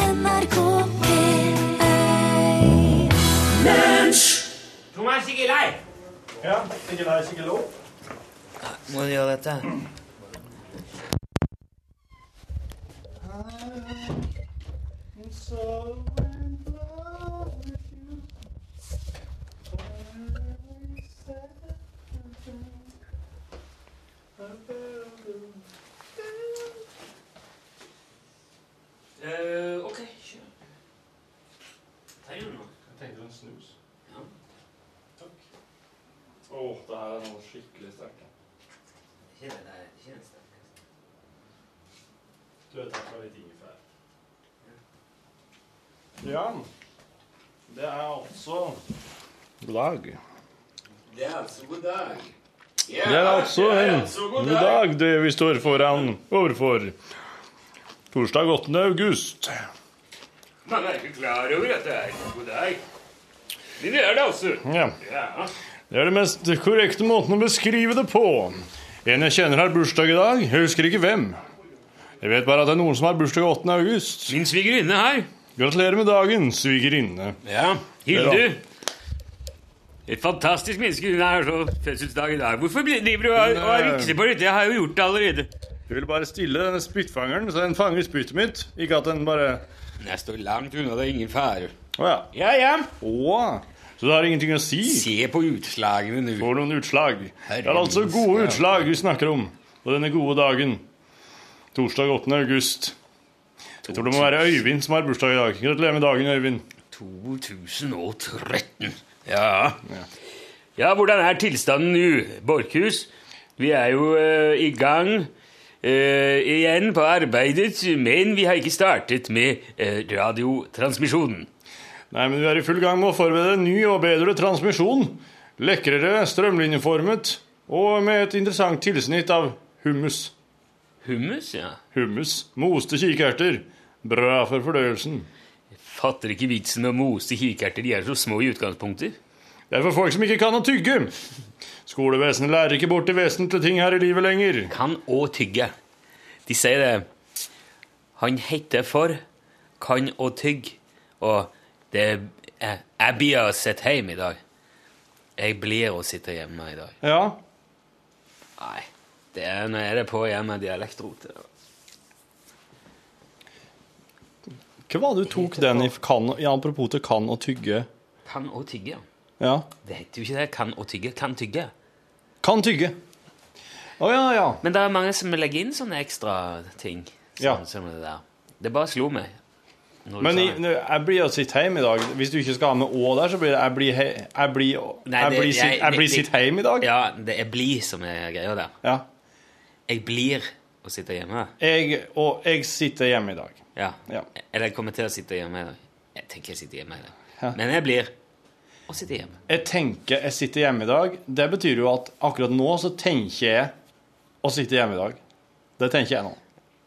NRK P1 Thomas, ikke lei! Ja, sikkert nei, sikkert lov. Må du gjøre dette? Uh, ok, kjør. Ta igjen nå. Jeg tenkte en snus. Ja. Takk. Åh, det her er noe skikkelig sterkt. Ikke det der, ikke den sterkeste. Du vet at det er litt ingefær. Ja. Det er altså Lag. Det er altså god dag. Ja, Det er altså det er en altså god ny dag det vi står foran overfor. Torsdag 8. august. Man er ikke klar over at det er en god dag. Men det er det altså. Ja. Ja. Det er den mest korrekte måten å beskrive det på. En jeg kjenner har bursdag i dag. Jeg husker ikke hvem. Jeg vet bare at det er noen som har bursdag 8. august. Min svigerinne her. Gratulerer med dagen, svigerinne. Ja, Hilde. Et fantastisk menneske. Hun har så fødselsdag i dag. Hvorfor driver du og- og Nei. rykser på dette? Jeg har jo gjort det allerede. Jeg ville bare stille denne spyttfangeren, så den fanger spyttet mitt. Ikke at den bare Jeg står langt unna, det er ingen fare. Å ja. Ja, ja. Å. Så det har ingenting å si? Se på utslagene nå. Får noen utslag. Det er Herregud, altså gode ja. utslag vi snakker om på denne gode dagen. Torsdag 8. august. Jeg tror det må være Øyvind som har bursdag i dag. Gratulerer med dagen, Øyvind. 2013. Ja. Ja, hvordan er tilstanden nå, Borchhus? Vi er jo eh, i gang eh, igjen på arbeidet, men vi har ikke startet med eh, radiotransmisjonen. Nei, men vi er i full gang med å forberede en ny og bedre transmisjon. Lekrere, strømlinjeformet og med et interessant tilsnitt av hummus. Hummus, ja. Hummus. Moste kikerter. Bra for fordøyelsen. Fatter ikke vitsen med å mose kikerter, de er så små i utgangspunktet. Det er for folk som ikke kan å tygge. Skolevesenet lærer ikke bort det vesentlige ting her i livet lenger. Kan og tygge. De sier det. Han heter for, kan og tygge. Og det er Jeg blir å sitte hjemme i dag. Jeg blir å sitte hjemme i dag. Ja, Nei, det er, nå er det på igjen med dialektrotet. hva var det du tok den i kan, ja, apropos til kan og tygge? Kan og tygge. Ja, Det heter jo ikke det. Kan og tygge. Kan tygge. kan tygge. Å ja, ja. Men det er mange som legger inn sånne ekstra ting. Sånn, Ja. som det der. Det bare slo meg. når du Men sa i, det. nå, jeg blir jo sitt heim i dag. Hvis du ikke skal ha med å der, så blir det jeg blir, hei, jeg blir, Nei, jeg det- blir, sitt, jeg- jeg blir det- sitt heim i dag. Ja, det er bli som er greia der. Ja. Jeg blir å sitte hjemme. Jeg, og jeg sitter hjemme i dag. Ja. Ja. Eller jeg kommer til å sitte hjemme i dag. Jeg tenker jeg sitter hjemme i dag. Ja. Men jeg blir å sitte hjemme. Jeg tenker jeg sitter hjemme i dag. Det betyr jo at akkurat nå så tenker jeg å sitte hjemme i dag. Det tenker jeg nå.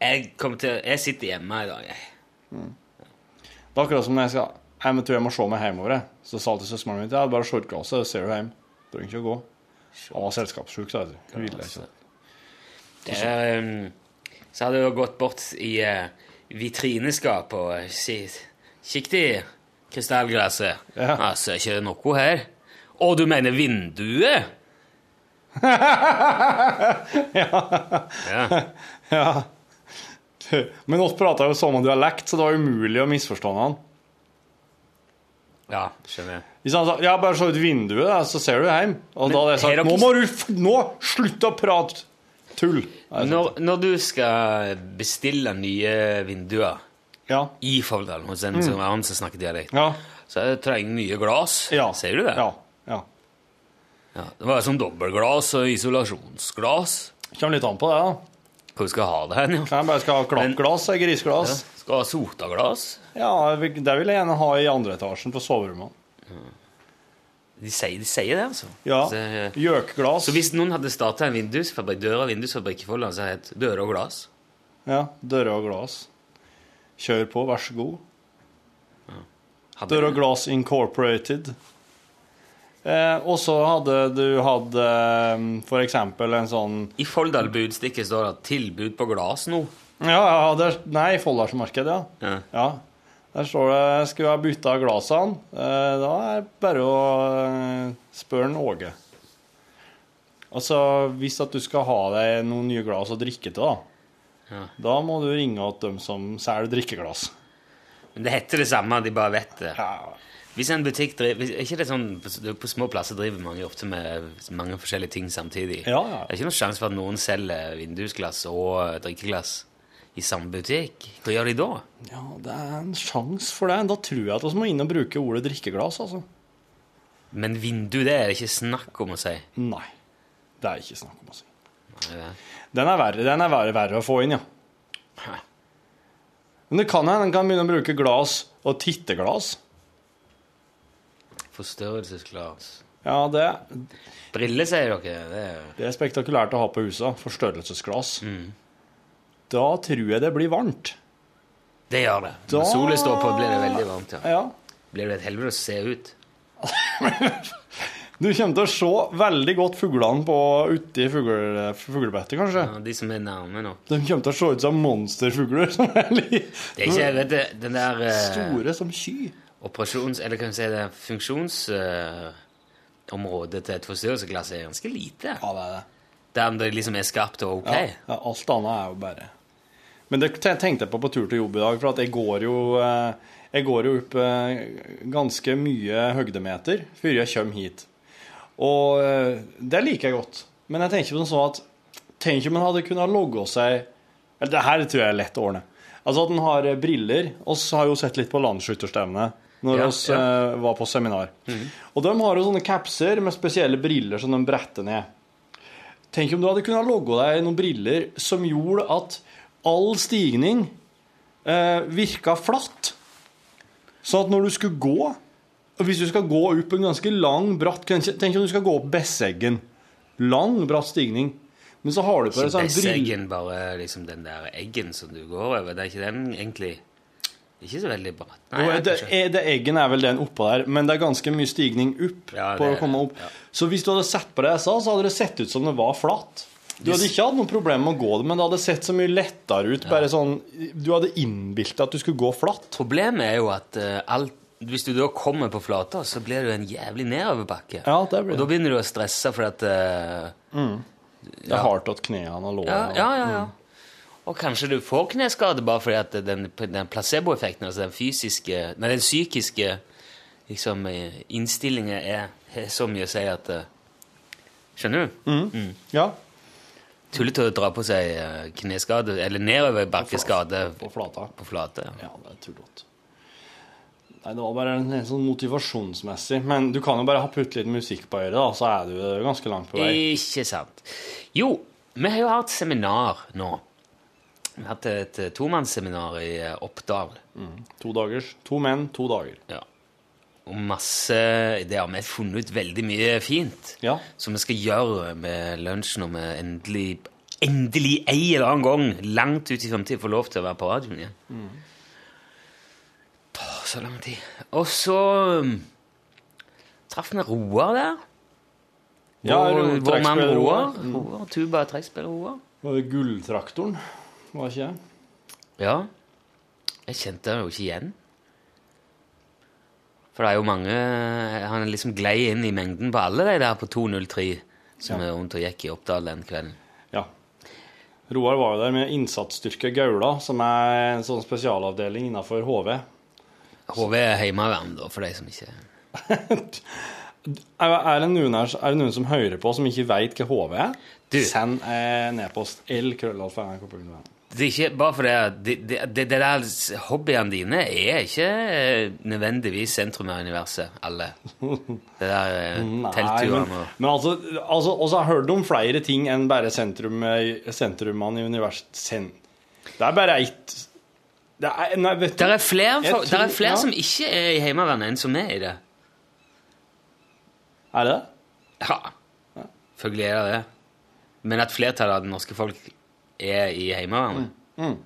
Jeg, kommer til, jeg sitter hjemme i dag. jeg. Det er akkurat som når jeg skal Jeg må- tror jeg må se meg hjemover. jeg. Så sa til søsteren min at bare short glasset, så ser du hjem. Trenger ikke å gå. Han var selskapssjuk, sa jeg. Hun ville ikke. Det er, um, så hadde jeg jo gått bort i eh, vitrineskap og eh, si, kikket i krystallglasset. Ja. Altså, er ikke det noe her? Å, du mener vinduet? ja. Ja. Men oss prata jo som om du har lekt, så det var umulig å misforstå han. Ja, skjønner jeg. Hvis han sa ja, bare se ut vinduet, da, så ser du hjem. Og da hadde jeg sagt har dere- nå må du f nå, slutt å prate tull. Nei, så- Altså, Når, når du skal bestille nye vinduer Ja. i Folldalen hos Mm. en som annen som snakker dialekt, Ja. så jeg trenger nye glass. ja. Ser du det? Ja. ja. Ja, det var sånn dobbeltglass og isolasjonsglass. Kommer litt an på det, da. Hvor skal jeg ha det hen? Ja? Jeg bare skal ha klappglass og griseglass. Skal jeg ha sotaglass? Ja, jeg vil- det vil jeg gjerne ha i andre etasjen på soverommet. De sier, de sier det, altså. Ja. Så, eh, Gjøkglass. så hvis noen hadde starta en vindusfabrikk, døra- og vindusfabrikk i Folldalen, så hadde det hett Dører og glass. Ja, dører og glass. Kjør på, vær så god. Hadde Dører og glass incorporated. Eh, og så hadde du hatt eh, for eksempel en sånn I Folldal-budstikket står det 'tilbud på glass' nå. Ja, ja, det er Nei, Folldalsmarked, ja. Ja. ja. Der står det 'Skulle jeg bytta glasene?' Eh, Da er det bare å eh, spørre en Åge. Altså, hvis at du skal ha deg noen nye glass å drikke til, da, Ja. da må du ringe til dem som selger drikkeglass. Men det heter det samme, de bare vet det. Ja. Hvis en butikk driver, hvis, er ikke det sånn, på- På små plasser driver mange ofte med mange forskjellige ting samtidig. Ja, ja. Det er ikke noen sjanse for at noen selger vindusglass og drikkeglass i samme butikk. Hva gjør de da? ja, det er en sjanse for det. Da tror jeg at vi må inn og bruke ordet drikkeglass, altså. Men vindu, det er det ikke snakk om å si. Nei. Det er ikke snakk om å si. Nei, det- Den er verre, den er verre, verre å få inn, ja. Hæ. Men det kan hende en kan begynne å bruke glass og titteglass. Forstørrelsesglass. Ja, det, Briller, sier dere. Det er det er spektakulært å ha på huset. Forstørrelsesglass. Da tror jeg det blir varmt. Det gjør det. Når Da- solen står på, blir det veldig varmt. ja. Ja. Blir det et helvete å se ut? Du kommer til å se veldig godt fuglene på uti fugle, fuglebettet, kanskje. Ja, de som er nærme nå. De kommer til å se ut som monsterfugler. Som er li- Det er ikke vet du, den der eh, store som sky. operasjons... Eller kan vi si det funksjonsområdet til et forstørrelsesglass er ganske lite. Ja, det er det. Der om det liksom er skarpt og ok. Ja, ja, alt annet er jo bare Men det te- tenkte jeg på på tur til jobb i dag, for at jeg går jo, eh, jeg går jo opp eh, ganske mye høydemeter før jeg kommer hit. Og eh, det liker jeg godt. Men jeg tenker på det sånn at Tenk om en hadde kunnet logge seg Eller det her tror jeg er lett å ordne. Altså at en har eh, briller. oss har jo sett litt på landsskytterstevnet når Ja, oss ja. Mhm. eh, var på seminar. Og de har jo sånne capser med spesielle briller som de bretter ned. Tenk om du hadde kunnet logge deg noen briller som gjorde at all stigning eh, virka flatt. Sånn at når du skulle gå og Hvis du skal gå opp en ganske lang, bratt kanskje- Tenk om du skal gå opp Besseggen. Lang, bratt stigning. Men så har du på deg Ikke sånn brille... Besseggen, bare liksom den der eggen som du går over. Det er ikke den egentlig Ikke så veldig bratt. Nei, Jo, ja, det, kanskje. eh, det Eggen er vel den oppå der, men det er ganske mye stigning opp. Ja, på det å er komme det. opp. Ja. Så hvis du hadde sett på det jeg sa, så hadde det sett ut som det var flatt. Du hadde ikke hatt noe problem med å gå det, men det hadde sett så mye lettere ut. bare sånn, Du hadde innbilt deg at du skulle gå flatt. Problemet er jo at eh, alt, hvis du da kommer på flata, så blir det jo en jævlig nedoverbakke. Ja, det blir Og da begynner du å stresse for at eh, Det er hardt at knærne og ja, lårene ja, ja, ja. Og kanskje du får kneskade bare fordi at den, den placeboeffekten, altså den fysiske Nei, den psykiske liksom, eh, innstillingen er, har så mye å si at eh, Skjønner du? ja. Tullete å dra på seg eh, kneskade, eller nedoverbakkeskade På flata. på flate. Ja, det er tullete. Nei, det var bare en en sånn motivasjonsmessig. Men du kan jo bare ha putt litt musikk på øret, da, så er du eh, ganske langt på vei. Ikke sant. Jo, vi har jo hatt seminar nå. Vi har hatt et eh, tomannsseminar i eh, Oppdal. To dagers. To menn, to dager. Ja. Og masse Det har vi funnet ut veldig mye fint Ja. som vi skal gjøre med lunsj når vi endelig Endelig en eller annen gang langt ut i fremtiden får lov til å være på radioen igjen. Mm. Åh, så lang tid. Og så um, traff vi Roar der. Ja, Vår- Roar, vår mann trekkspiller Roar. Mm. Roar. Roar, Tuba trekkspiller Roar. Var det gulltraktoren? Var det ikke det? Ja. Jeg kjente han jo ikke igjen. For det er jo mange Han liksom glei inn i mengden på alle de der på 203 som Ja. er rundt og gikk i Oppdal den kvelden. Ja. Roar var jo der med innsatsstyrke Gaula, som er en sånn spesialavdeling innenfor HV. HV er heimevern, da, for de som ikke Er er det noen, her, er det noen som hører på som ikke veit hva HV er? Du. Send eh, nedpost l-krøllalfa.nrk.no. Det er ikke bare fordi at det, det, det, det der Hobbyene dine er ikke eh, nødvendigvis sentrum av universet, alle. Det der eh, men, teltturene og men altså, altså også har jeg hørt om flere ting enn bare sentrum, sentrumene i universet. Sen, det er bare ett det er, nei, vet du, Der er flere, Jeg for, der tror- er flere ja. som ikke er i Heimevernet, enn som er i det. er det det? Ja, selvfølgelig er det det. Men at flertallet av det norske folk er i Heimevernet Mm.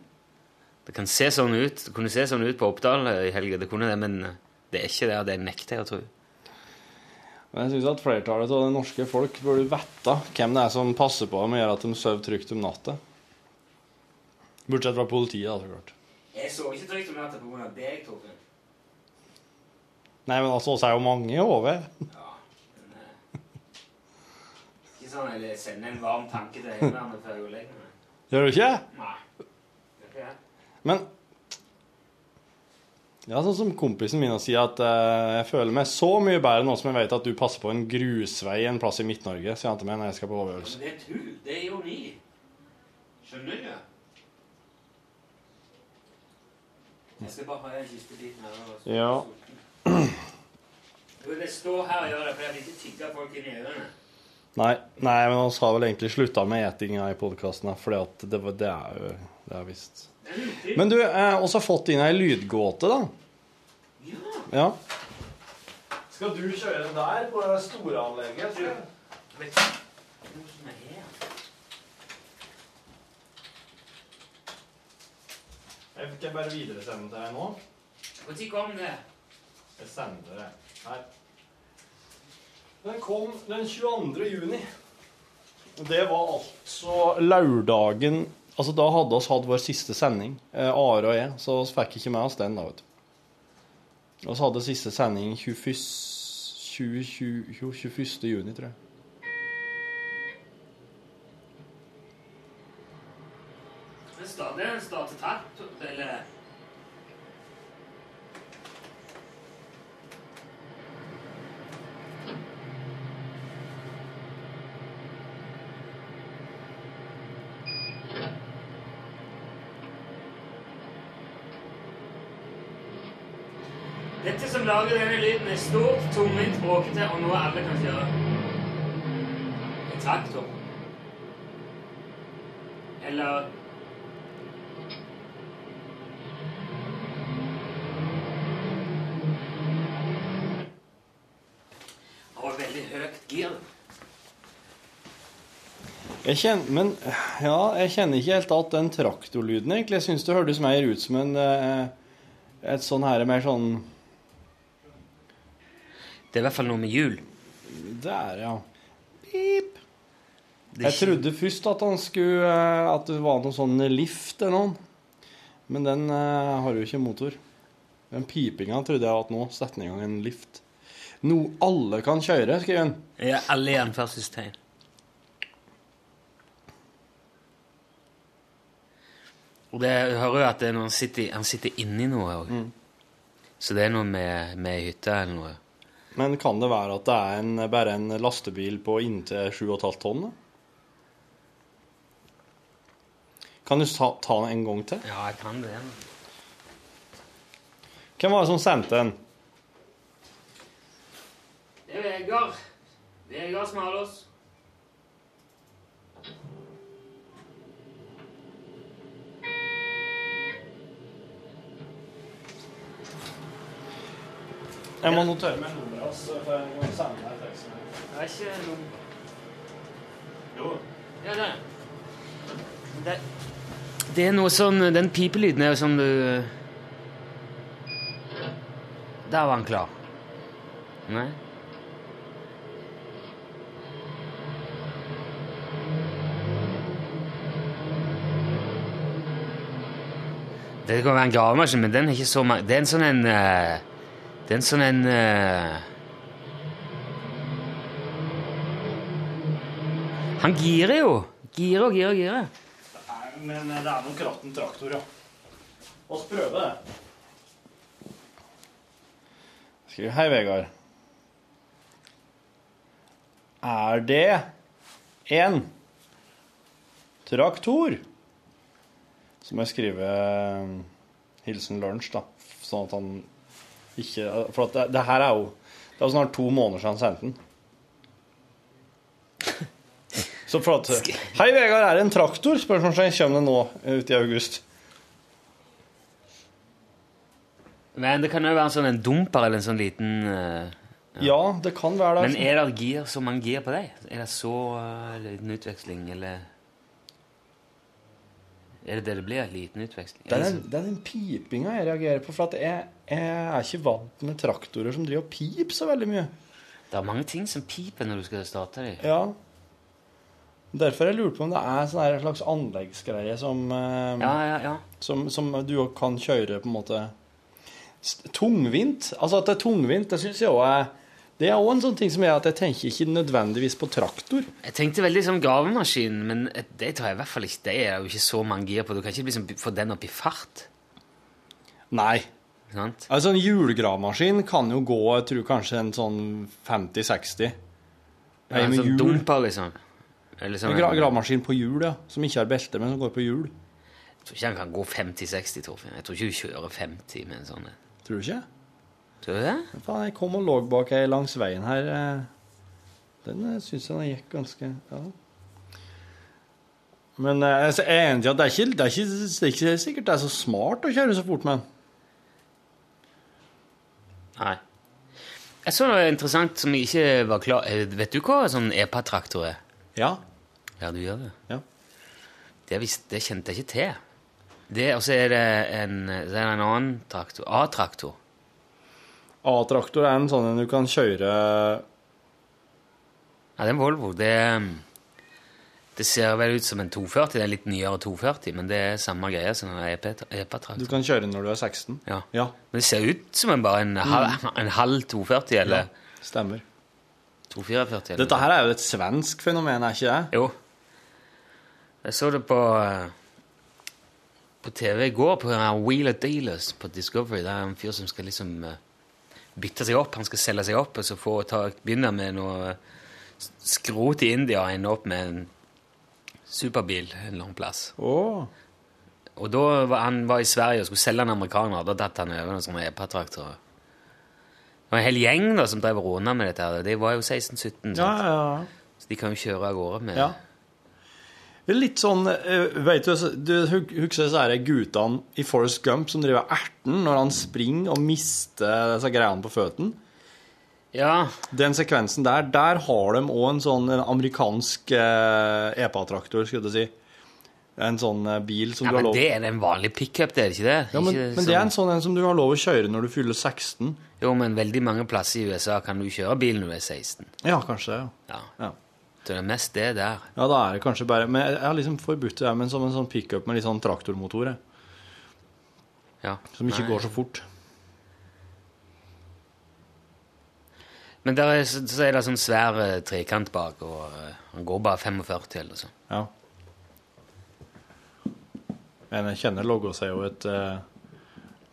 Det kan se sånn ut Det kunne se sånn ut på Oppdal i helga, det kunne det, men eh, det er ikke det. og Det nekter jeg å tro. Men jeg syns at flertallet av det norske folk burde vite hvem det er som passer på dem og gjør at de sover trygt om natta. Bortsett fra politiet, da, så klart. Jeg så ikke trygt om natta pga. deg, Torfinn. Nei, men altså, oss er jo mange i HV. Ja, men eh, Ikke sånn at jeg sender en varm tanke til Heimevernet før jeg går og legger meg. Gjør du ikke? Nei. Det er ikke det. Men Ja, sånn som kompisen min sier at eh, jeg føler meg så mye bedre nå som jeg vet at du passer på en grusvei en plass i Midt-Norge, sier han til meg når jeg skal på Ja, HV-øvelse. Men det er tull. Det er ironi. Skjønner du? Jeg skal bare ha den siste biten her. og så- Ja. Jo, det står her og gjør det, for jeg vil ikke tygge folk inn i ørene. Nei, nei, men vi har vel egentlig slutta med etinga i podkasten, for det, var- det er jo Det er visst Det er utynt. Men du, eh, oss har fått inn ei lydgåte, da. Ja. Ja. Skal du kjøre den der på det store anlegget? Vet du noe som er her? Jeg fikk bare videresende til deg nå. Når kom det? Jeg sender det her. Den kom den 22. juni. Det var altså lørdagen Altså Da hadde oss hatt vår siste sending, eh, Are og jeg, så vi fikk ikke med oss den. da, vet du. Vi hadde siste sending 21. 20, 20, 21. juni, tror jeg. Det er stadig en startetapp, eller Dette som lager denne lyden, er stort, tungvint, bråkete og noe alle kan kjøre. En traktor. Eller Han var veldig høyt gir. Jeg kjenner, men ja, jeg kjenner ikke helt at den traktorlyden, egentlig. Jeg syns det hørtes mer ut som en eh, et sånn her mer sånn Det er i hvert fall noe med hjul. Der, ja. Pip. Jeg trodde først at han skulle eh, At det var noe sånn lift eller noe. Men den eh, har jo ikke motor. Den pipinga trodde jeg at nå setter den i gang en lift. Noe alle kan kjøre, skriver han. Ja, alle i anførselstegn. Og det jeg hører jo at det er noen sitter, han sitter inni noe òg. Mm. Så det er noe med, med hytta eller noe. Men kan det være at det er en, bare en lastebil på inntil 7,5 tonn? da? Kan du ta, ta den en gang til? Ja, jeg kan det. Hvem var det som sendte den? Det er Vegard. Vegard Smalås. Jeg må notere meg nummeret hans. for jeg kan sende deg teksten her. Det er ikke noe Jo. Ja, det. det Det er noe sånn Den pipelyden er jo sånn, som du Der var han klar. Nei? Det kan være en gravemaskin, men den er ikke så mange Det er en sånn en eh, Det er en sånn en eh, Han girer jo. Girer og girer og girer. Nei, men det er nok ratten traktor, ja. La oss prøve det. Skriv Hei, Vegard. Er det en traktor? Så må jeg skrive eh, hilsen lunsj, da. Sånn at han ikke For at det, det her er jo Det er jo snart to måneder siden han sendte den. Så for at Hei, Vegard, er det en traktor? Spørsmålstegn. Kommer det nå eh, ute i august? Men det kan jo være en sånn en dumper eller en sånn liten eh, Ja, det kan være det. Men er det gir som man gir på deg? Er det så eh, liten utveksling, eller Er det det det blir? Liten utveksling? Det er, Eller den, det er den pipinga jeg reagerer på. For at jeg, jeg er ikke vant med traktorer som driver og piper så veldig mye. så- det er mange ting som piper når du skal starte dem. Ja. Derfor jeg lurte på om det er sånn her slags anleggsgreie som, eh, Ja, ja, ja. som, som du òg kan kjøre på en måte s- Tungvint. Altså at det er tungvint, det syns jeg òg er Det er òg en sånn ting som gjør at jeg tenker ikke nødvendigvis på traktor. Jeg tenkte veldig sånn gravemaskin, men det tror jeg i hvert fall ikke. Det er jo ikke så mange gir på. Du kan ikke liksom få den opp i fart. Nei. Sant? Altså En hjulgravemaskin kan jo gå jeg tror kanskje en sånn 50-60. Nei, en med sånn hjul. dumper, liksom. Eller sånn, En gra gravemaskin på hjul, ja. Som ikke har belte, men som går på hjul. jeg tror ikke den kan gå 50-60, Torfinn. Jeg tror ikke du kjører 50 med en sånn. Tror du ikke? Tror du det? Men Faen, jeg kom og lå bak ei langs veien her. eh. Den syns jeg den gikk ganske Ja. Men eh, altså, jeg er enig i at det er, ikke, det, er ikke, det er ikke sikkert det er så smart å kjøre så fort med den. Nei. Jeg så noe interessant som jeg ikke var klar eh, Vet du hva sånn EPA-traktor er? Ja. Ja, du gjør det. Ja. Det, visste, det kjente jeg ikke til. Det, og så er det en, så er det en annen traktor. A-traktor. A-traktor er en sånn en du kan kjøre Ja, det er en Volvo. Det, det ser vel ut som en 240. Det er en litt nyere 240, men det er samme greia som E en Du EPA-traktor. kan kjøre når du er 16. Ja. Ja, Men det ser ut som en, bare en, halv, Mm. en halv 240 eller stemmer. 244. Eller. Dette her er jo et svensk fenomen, er ikke det? Jo. Jeg så det på eh, på TV i går, på denne Wheel of Dealers på Discovery. Det er en fyr som skal liksom eh, bytte seg opp. Han skal selge seg opp, og så få ta, begynne med noe eh, s- skrot i India og ende opp med en superbil en eller annen plass. Åh. Og da var han var i Sverige og skulle selge en amerikaner. Da datt han over noen sånne EPA-traktorer. Det var en hel gjeng da som drev og råna med dette. her. De var jo 16-17, sant? Ja, ja, ja. så de kan jo kjøre av gårde med Ja. Det er Litt sånn eh, Vet du, så- du huk- husker disse her guttene i Forest Gump som driver erten når han springer og mister disse greiene på føttene? ja. Den sekvensen der, der har de òg en sånn en amerikansk eh, EPA-traktor, skulle jeg si. En sånn eh, bil som Ja, du har men lov det er en vanlig pickup, det er ikke det? Ja, men, Ikke men det er en sånn en som du har lov å kjøre når du fyller 16. sånn- Jo, men veldig mange plasser i USA kan du kjøre bil når du er 16. Ja, kanskje det. Ja. Ja. Ja. Så det er mest det der. ja, da er det kanskje bare Men jeg jeg har liksom forbudt det der, men som en sånn pickup med litt sånn traktormotor, jeg, Ja. som ikke Nei. går så fort. Men der er, så så er det sånn svær eh, trekant bak, og eh, han går bare 45 eller sånn. Ja. Men jeg kjenner logga seg jo et eh,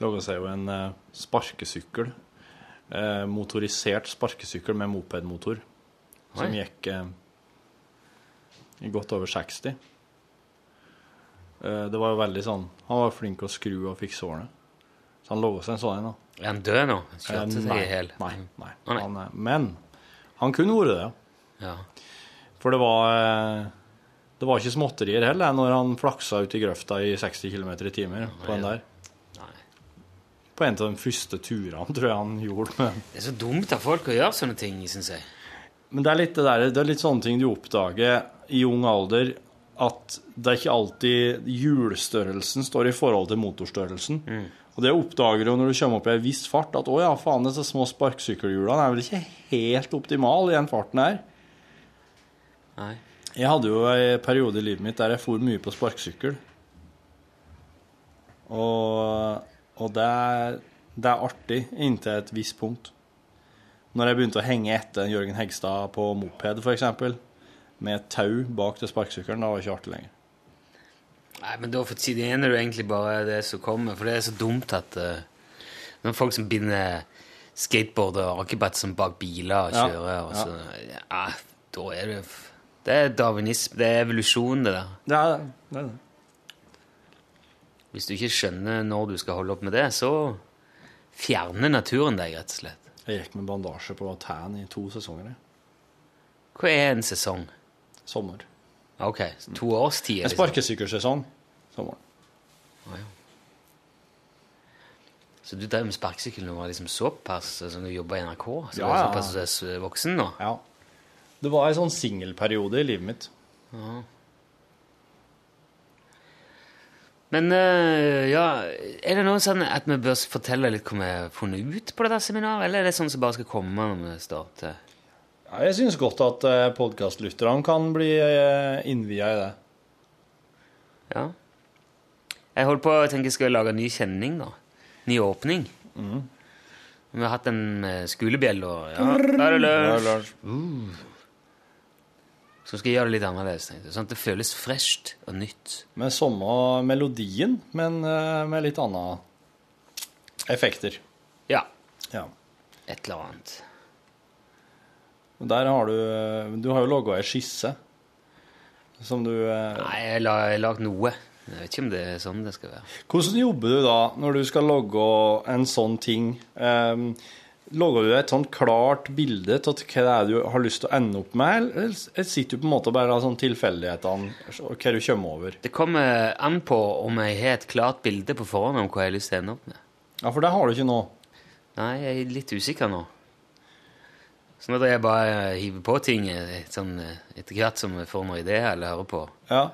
Logga seg jo en eh, sparkesykkel. Eh, motorisert sparkesykkel med mopedmotor. Som Oi. gikk eh, i godt over 60. Eh, det var jo veldig sånn Han var flink å skru og fikse sårene. Så han logga seg en sånn en. da. Er han død nå? Han Eh, Kjørte seg nei, i hæl. nei, nei. Å, nei. Han, eh, men han kunne vært det, ja. Ja. For det var eh, Det var ikke småtterier heller når han flaksa ut i grøfta i 60 km i timen på den der. Nei. På en av de første turene, tror jeg han gjorde. Men, Det er så dumt av folk å gjøre sånne ting, syns jeg. men det, er litt det, der, det er litt sånne ting du oppdager i ung alder. At det er ikke alltid hjulstørrelsen står i forhold til motorstørrelsen. Og det oppdager du når du kommer opp i en viss fart, at å ja, faen, disse små sparkesykkelhjulene er vel ikke helt optimale i den farten her. Nei. Jeg hadde jo en periode i livet mitt der jeg for mye på sparkesykkel. Og, og det, er, det er artig inntil et visst punkt. Når jeg begynte å henge etter Jørgen Hegstad på moped, f.eks., med et tau bak til sparkesykkelen, da var det ikke artig lenger. Nei, men da fortjener du egentlig bare det som kommer, for det er så dumt at eh, det er folk som binder skateboard og akebatt som bak biler og Ja, kjører, og så, ja. da er det f- Det er darwinisme, det er evolusjon, det der. Det er det. det, er det. Hvis du ikke skjønner når du skal holde opp med det, så fjerner naturen deg, rett og slett. Jeg gikk med bandasje på tærne i to sesonger. jeg. Hva er en sesong? Sommer. Ok, to års tid? liksom. En sparkesykkelsesong. Sommeren. Så du drev med sparkesykkel når du var liksom såpass som du jobba i NRK? Så Ja, du er ja. såpass eh, voksen nå? Ja. Det var en sånn singelperiode i livet mitt. Men øh, ja, er det noe sånn at vi bør fortelle litt hva vi har funnet ut på dette seminaret, eller er det sånn som bare skal komme når vi starter? Ja, jeg syns godt at eh, podcastlytterne kan bli eh, innvia i det. Ja. Jeg holdt på å tenke jeg skal lage en ny kjenning, da. Ny åpning. Mm. Vi har hatt en med skolebjell og ja, Da er det lunsj! Uh. Så skal jeg gjøre det litt annerledes, tenkte jeg. Sånn at det føles fresht og nytt. Med samme melodien, men eh, med litt andre effekter. Ja. Ja. Et eller annet. Der har du eh, Du har jo laga ei skisse som du eh, Nei, jeg la- jeg har lagd noe. Jeg vet ikke om det er sånn det skal være. Hvordan jobber du da når du skal logge en sånn ting? Um, logger du et sånn klart bilde til hva det er du har lyst til å ende opp med, eller eller sitter du på en måte bare av sånn tilfeldighetene og hva du kommer over? Det kommer an på om jeg har et klart bilde på forhånd om hva jeg har lyst til å ende opp med. Ja, for det har du ikke nå. Nei, jeg er litt usikker nå. Sånn at jeg bare hiver på ting eh, sånn, eh, etter hvert som jeg får noen ideer eller hører på. Ja.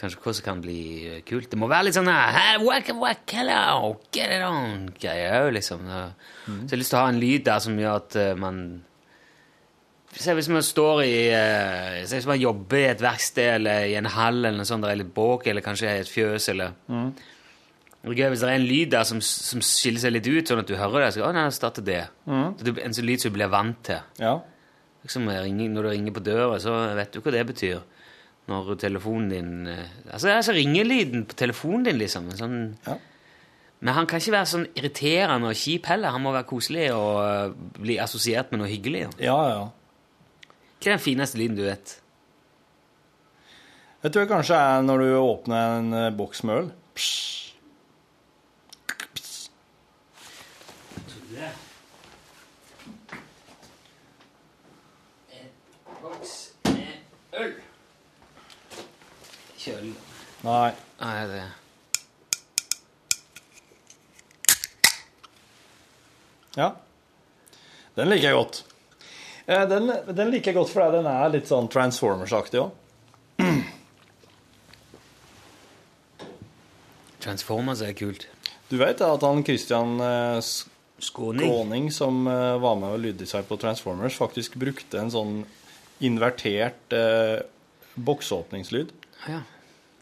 Kanskje hva som kan bli eh, kult. Det må være litt sånn eh, «Hey, waka, waka, hello, get it on, greier òg, liksom. Ja. Så jeg har lyst til å ha en lyd der som gjør at eh, man Se hvis man står i eh, Se hvis man jobber i et verksted eller i en hall eller noe sånt, der er litt bråk, eller kanskje i et fjøs eller Det er gøy hvis det er en lyd der som, som skiller seg litt ut, sånn at du hører det. Så, å, nei, nå starter det. Så det blir en sånn lyd som du blir vant til. ja. Liksom, jeg ringer, når du ringer på døra, så vet du hva det betyr. Når telefonen din eh, Altså, det er altså ringelyden på telefonen din, liksom. en Sånn, Ja. Men han kan ikke være sånn irriterende og kjip heller. Han må være koselig og eh, bli assosiert med noe hyggelig. da. Ja, ja. Hva er den fineste lyden du vet? Det tror jeg kanskje er når du åpner en eh, boks med øl. Psj. Øl. Ikke øl. Nei. Nei, det Ja. Den liker jeg godt. Eh, Den, den liker jeg godt fordi den er litt sånn Transformers-aktig òg. Transformers er kult. Du vet at han Christian eh, Skåning. Skråning, som eh, var med og lyddesign på Transformers, faktisk brukte en sånn invertert eh, boksåpningslyd. Ja.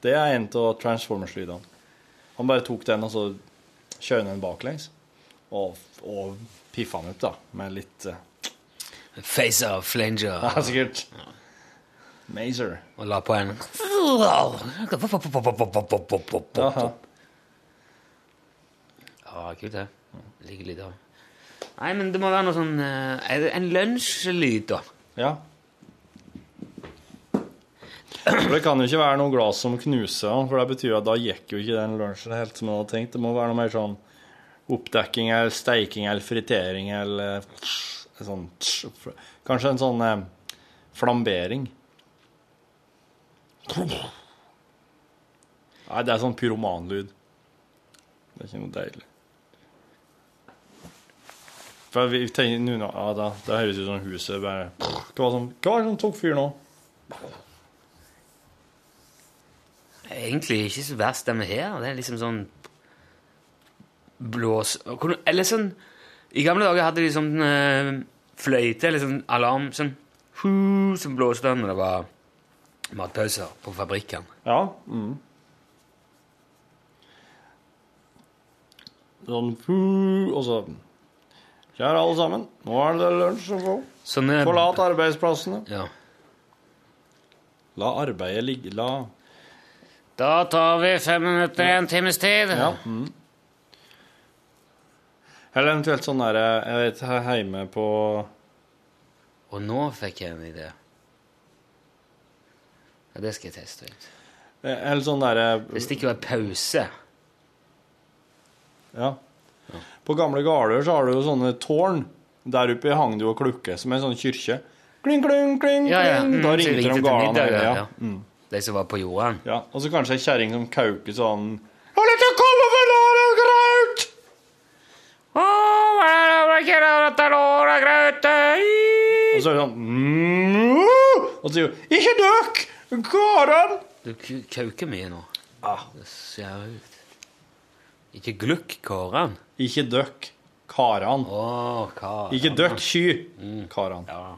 Det er en av Transformers-lydene. Han bare tok den og så kjørte den baklengs. Og, og piffa den ut, da. Med litt eh, Facer, flanger. Ja, sikkert. Mazer. Og la på en Jaha. Ja, kult det. Like lyd av. Nei, men det må være noe sånn eh, er det En lunsjlyd, da. Ja. For det kan jo ikke være noe glass som knuser, han, for det betyr at da gikk jo ikke den lunsjen helt som han hadde tenkt. Det må være noe mer sånn oppdekking eller steiking eller fritering eller sånn Kanskje en sånn eh, flambering. Nei, det er sånn pyromanlyd. Det er ikke noe deilig. For vi tenker nå nå- ja, da, Det høres ut som huset bare Hva var det som, hva var det som tok fyr nå? Egentlig ikke så verst, den her. Det er liksom sånn Blås Kunne- Eller sånn I gamle dager hadde de sånn eh, fløyte, eller sånn alarm, sånn hu, Som blåste når det var matpauser på fabrikken. Ja. Mm. Sånn fu- Og så Kjære alle sammen, nå er det lunsj å få. Sånne Forlat arbeidsplassene. Sånn, eh, Ja. La arbeidet ligge. La Da tar vi fem minutter, en times tid. Ja. Mm. Eller eventuelt sånn derre Jeg vet her hjemme på Og nå fikk jeg en idé. Ja, det skal jeg teste ut. eh, Eller sånn derre Hvis det ikke var pause Ja. På gamle gårder så har du jo sånne tårn. Der oppe hang det jo og klukke, som en sånn kyrkje. Kling, kling, kling, kling. Ja, ja. Mm, da så ringte ringte de til gårdene. middag, Ja. ja, Ja. ja. Mm. De som var på jorden. ja. Og så kanskje ei kjerring som kauker sånn Har du ikke kommet for låret graut? Og så er det sånn mm, Og så sier hun Ikke døkk! Gården! Du k- kauker mye nå. Ah, Det ser ut Ikke glukk, Kåren. ikke døkk. Karan. Å, Karen. Ikke døkk, sky. Karan. Ja.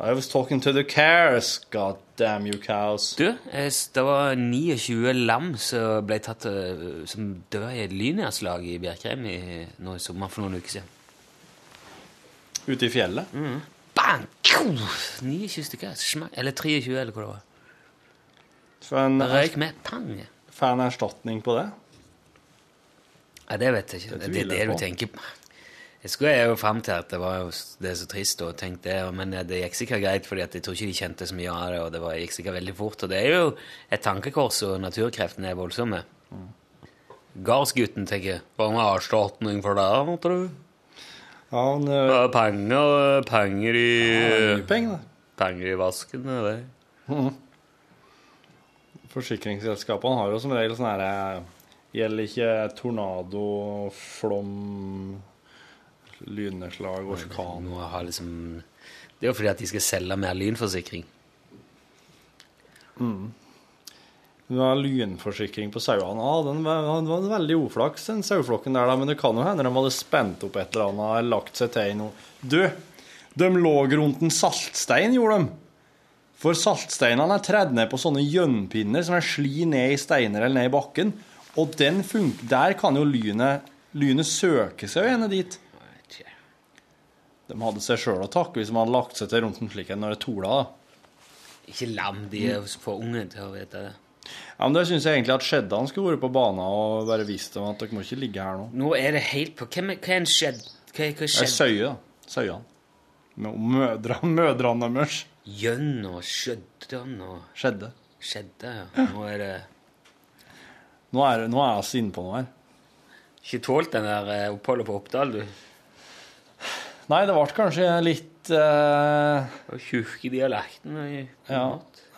I was talking to the cows. God damn you cows. Du, eh, s- det var 29 lam som ble tatt eh, som døde i et lynnedslag i Bjerkreim i, nå i sommer for noen uker siden. Ute i fjellet. Mm. Bang! Kjo! 29 stykker. Smak. Eller 23, eller hva det var. Får en, Det røyk med pang. får en erstatning på det? Ja, det vet jeg ikke. Det Det, er tviler det jeg du på. tenker på. Jeg skulle jeg jo fram til at det var jo s- det er så trist, og tenkte det, men det gikk sikkert greit, fordi at jeg tror ikke de kjente så mye av det, og det var, gikk sikkert veldig fort. Og det er jo et tankekors, og naturkreftene er voldsomme. Mm. Gardsgutten tenker Hva med erstatning for det, tror du? Ja, han eh, Ja, Penger, eh, penger har i mye penger, da. Penger i vasken, det er det. Forsikringsselskapene har jo som regel sånn herre Gjelder ikke tornado, flom, lynnedslag, orkan Må ha liksom Det er jo fordi at de skal selge mer lynforsikring. Du har lynforsikring på sauene. Ja, den var, den var veldig uflaks, den saueflokken der, da. Men det kan jo hende de hadde spent opp et eller annet og lagt seg til i noe. Du, de lå rundt en saltstein, gjorde de. For saltsteinene er tredd ned på sånne gjønnpinner som er sli ned i steiner eller ned i bakken. Og den funk der kan jo lynet, lynet søke seg jo gjerne dit. De hadde seg sjøl å takke hvis de hadde lagt seg til rundt en slik en når det tola. da. Ikke lam, de er for unge til å vite det. Ja, men Det syns jeg egentlig at Skjeddan skulle vært på banen og bare visst dem at dere må ikke ligge her nå. Nå er det helt på Hvem er, hva er en skjedd? Det Hva, hva er skjedd? Eh, søye, da. Søyene. Med mødre, mødrene deres. Gjønn og skjøddan og Skjedde. skjedde, ja. Nå er det Nå er, nå er vi inne på noe her. Ikke tålt den der eh, oppholdet på Oppdal, du. Nei, det ble kanskje litt eh, Og kirkedialekten og ja,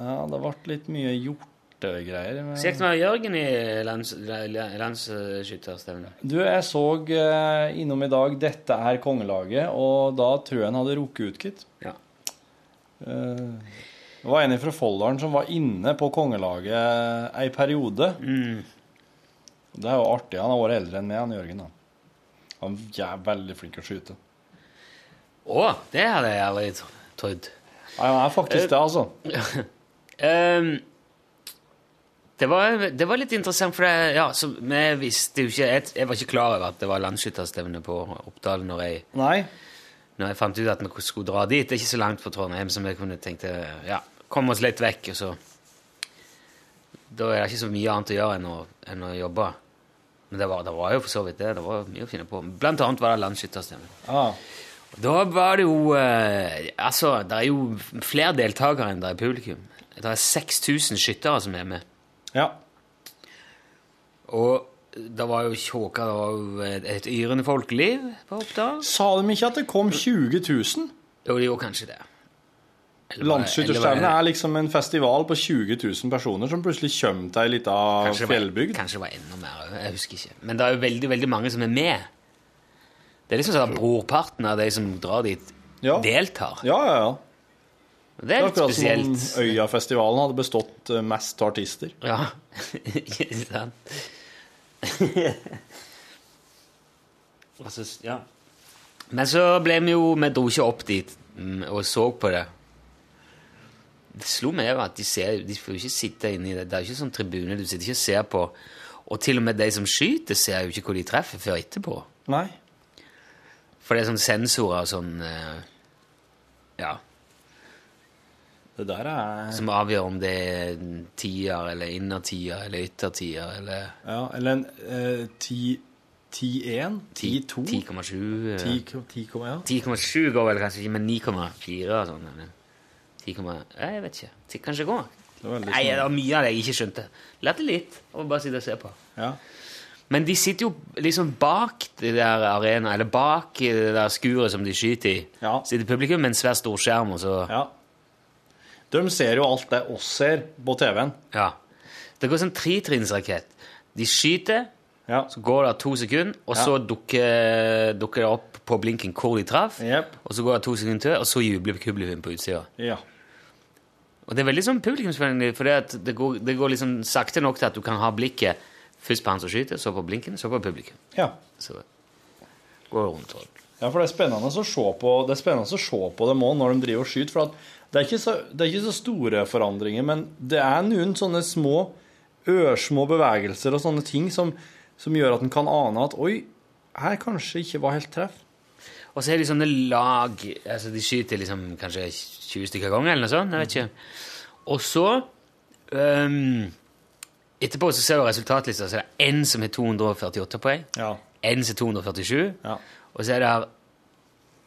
ja, det ble litt mye hjortegreier. men- Kjekt med Jørgen i lands- la- landsskytterstevnet. Du, jeg så eh, innom i dag 'Dette er kongelaget', og da tror jeg han hadde rukket ut, gitt. Ja. Eh, det var en fra Folldalen som var inne på kongelaget ei periode. Mm. Det er jo artig. Han er året eldre enn meg, han Jørgen. Da. Han er veldig flink til å skyte. Å, det hadde jeg aldri tro- trodd. Nei, han er faktisk det, altså. Ehm, det, var, det var litt interessant, for det, ja, så vi visste jo ikke jeg, jeg var ikke klar over at det var landsskytterstevne på Oppdal når jeg, Nei. når jeg fant ut at vi skulle dra dit. Det er ikke så langt fra Trondheim som jeg kunne tenkte ja, komme oss litt vekk. og så... Da er det ikke så mye annet å gjøre enn å, enn å jobbe. Men det var, det var jo for så vidt det. Det var mye å finne på. Blant annet var det landsskytterstevne. Ja. Da var det jo eh, Altså, det er jo flere deltakere enn det er publikum. Det er 6000 skyttere som er med. ja. Og det var jo tjåka Det var jo et, et yrende folkeliv på Oppdal. Sa de ikke at det kom 20 000? Jo, det gjorde kanskje det. Eller var- eller Landsskytterstevnet var det- er liksom en festival på 20 000 personer som plutselig kommer til ei lita kanskje det var- fjellbygd. Kanskje det var enda mer. Jeg husker ikke. Men det er jo veldig veldig mange som er med. Det er liksom sånn at brorparten av de som drar dit, Ja. ja, deltar. ja, ja. Og det Det er er litt akkurat som om spesielt. Øyafestivalen hadde bestått eh, mest av artister. Ja, ikke sant? altså, s- ja. Men så ble vi jo Vi dro ikke opp dit mm, og så på det. Det slo meg jo at de, ser, de får jo ikke sitte inni det. Det er jo ikke sånn tribune du sitter ikke og ser på. Og til og med de som skyter, ser jo ikke hvor de treffer før etterpå. Nei. For det er sånn sensorer og sånn eh, Ja. Det der er Som avgjør om det er tier eller innertier eller yttertier eller Ja, eller en eh, 10 10-1? 10-2? 10,7 eh. 10,1? Ja. 10,7 går vel kanskje ikke, men 9,4 og sånn. eller 10,1 Nei, Jeg vet ikke. Ti- Kanskje det går. Det var veldig Nei, det smart. var mye av det jeg ikke skjønte. La det litt, og bare sitte og se på. sånn- ja. Men de sitter jo liksom bak det der arenaen, eller bak i det der skuret som de skyter i. Ja. Sitter publikum med en svær storskjerm, og så ja. De ser jo alt det oss ser på TV-en. Ja. Det går sånn tretrinnsrakett. De skyter, Ja. så går det to sekunder, og Ja. så dukker, dukker det opp på blinken hvor de traff, Jep. og så går det to sekunder til, og så jubler publikum på utsida. ja. Og det er veldig sånn publikumsvennlig, for det, at det, går, det går liksom sakte nok til at du kan ha blikket først på han som skyter, så på blinken, så på publikum. Ja. Så går det rundt og Ja, for det er spennende å se på, det er spennende å se på dem òg når de driver og skyter. For at det, er ikke så, det er ikke så store forandringer, men det er noen sånne små, ørsmå bevegelser og sånne ting som, som gjør at en kan ane at oi, her kanskje ikke var helt treff. Og så er liksom det sånne lag altså De skyter liksom kanskje 20 stykker av gangen, eller noe sånt. jeg vet ikke. Og så ehm, Etterpå så ser du resultatlista, så er det én som har 248 poeng, Ja. én som har 247, Ja. og så er det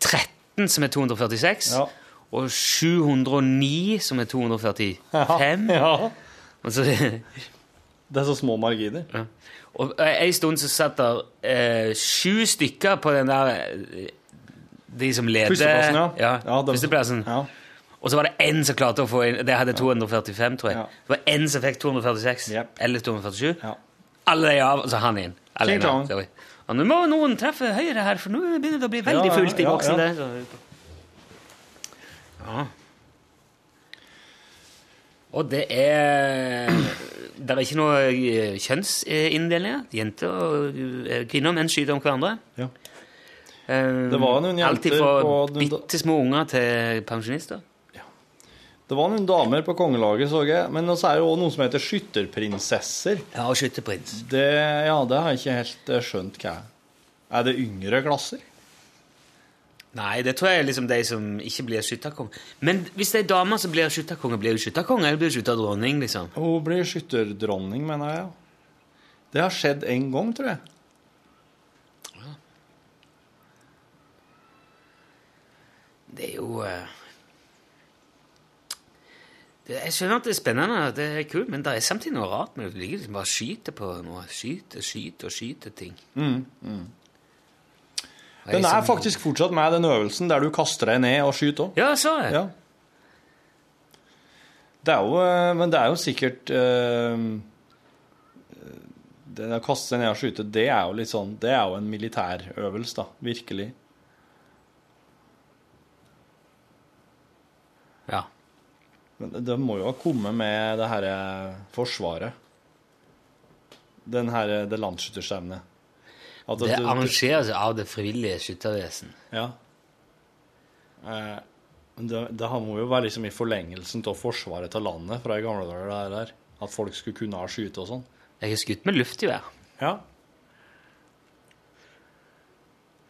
13 som har 246, Ja. og 709 som har 245. Ja. Og så Det er så små marginer. Ja. Og eh, en stund så satt der eh, sju stykker på den der eh, De som leder Førsteplassen, ja. ja. Ja, det- Førsteplassen. Ja. Og så var det én som klarte å få inn Det hadde 245, tror jeg. Ja. Det var én som fikk 246. Yep. Eller 247. Ja. Alle de av, og så han inn. Alle Tjing inn, tong. sorry. Og nå må noen treffe høyre her, for nå begynner det å bli veldig Ja, ja, fullt i ja, boksen. ja. der. Så- Ja. Og det er Det er ikke noe eh, kjønnsinndelinger. Jenter og eh, kvinner og menn skyter om hverandre. Ja. Eh, Det var noen Alt jenter fra på den- bitte små unger til pensjonister. Det var noen damer på kongelaget, så jeg. Men så er det òg noen som heter skytterprinsesser. Ja, og skytterprins. Det, ja, det har jeg ikke helt eh, skjønt hva er. Er det yngre klasser? Nei, det tror jeg er liksom de som ikke blir skytterkong. Men hvis det er damer som blir skytterkonge, blir hun skytterkonge eller blir hun skytterdronning? liksom? Hun blir skytterdronning, mener jeg. Det har skjedd én gang, tror jeg. Det er jo eh, det, Jeg skjønner at det er spennende, at det er kult, men det er samtidig noe rart med det. Du ligger liksom bare og skyter på noe. Skyter, skyter og skyter ting. Og jeg Mm, Den er liksom- som- faktisk fortsatt med, den øvelsen der du kaster deg ned og skyter òg. Ja, så jeg. Ja. Det er jo, eh, men det er jo sikkert eh, Det å kaste seg ned og skyte, det er jo litt sånn Det er jo en militærøvelse, da. Virkelig. Ja. Men det- det må jo ha kommet med det herre forsvaret. Den herre det landsskytterstevnet. At Det du- arrangeres av det frivillige skyttervesen. Ja. Eh, men det, det her må jo være liksom i forlengelsen av forsvaret av landet fra i gamle dager. det her der. At folk skulle kunne ha skyte og sånn. Jeg har skutt med luftgevær, Ja.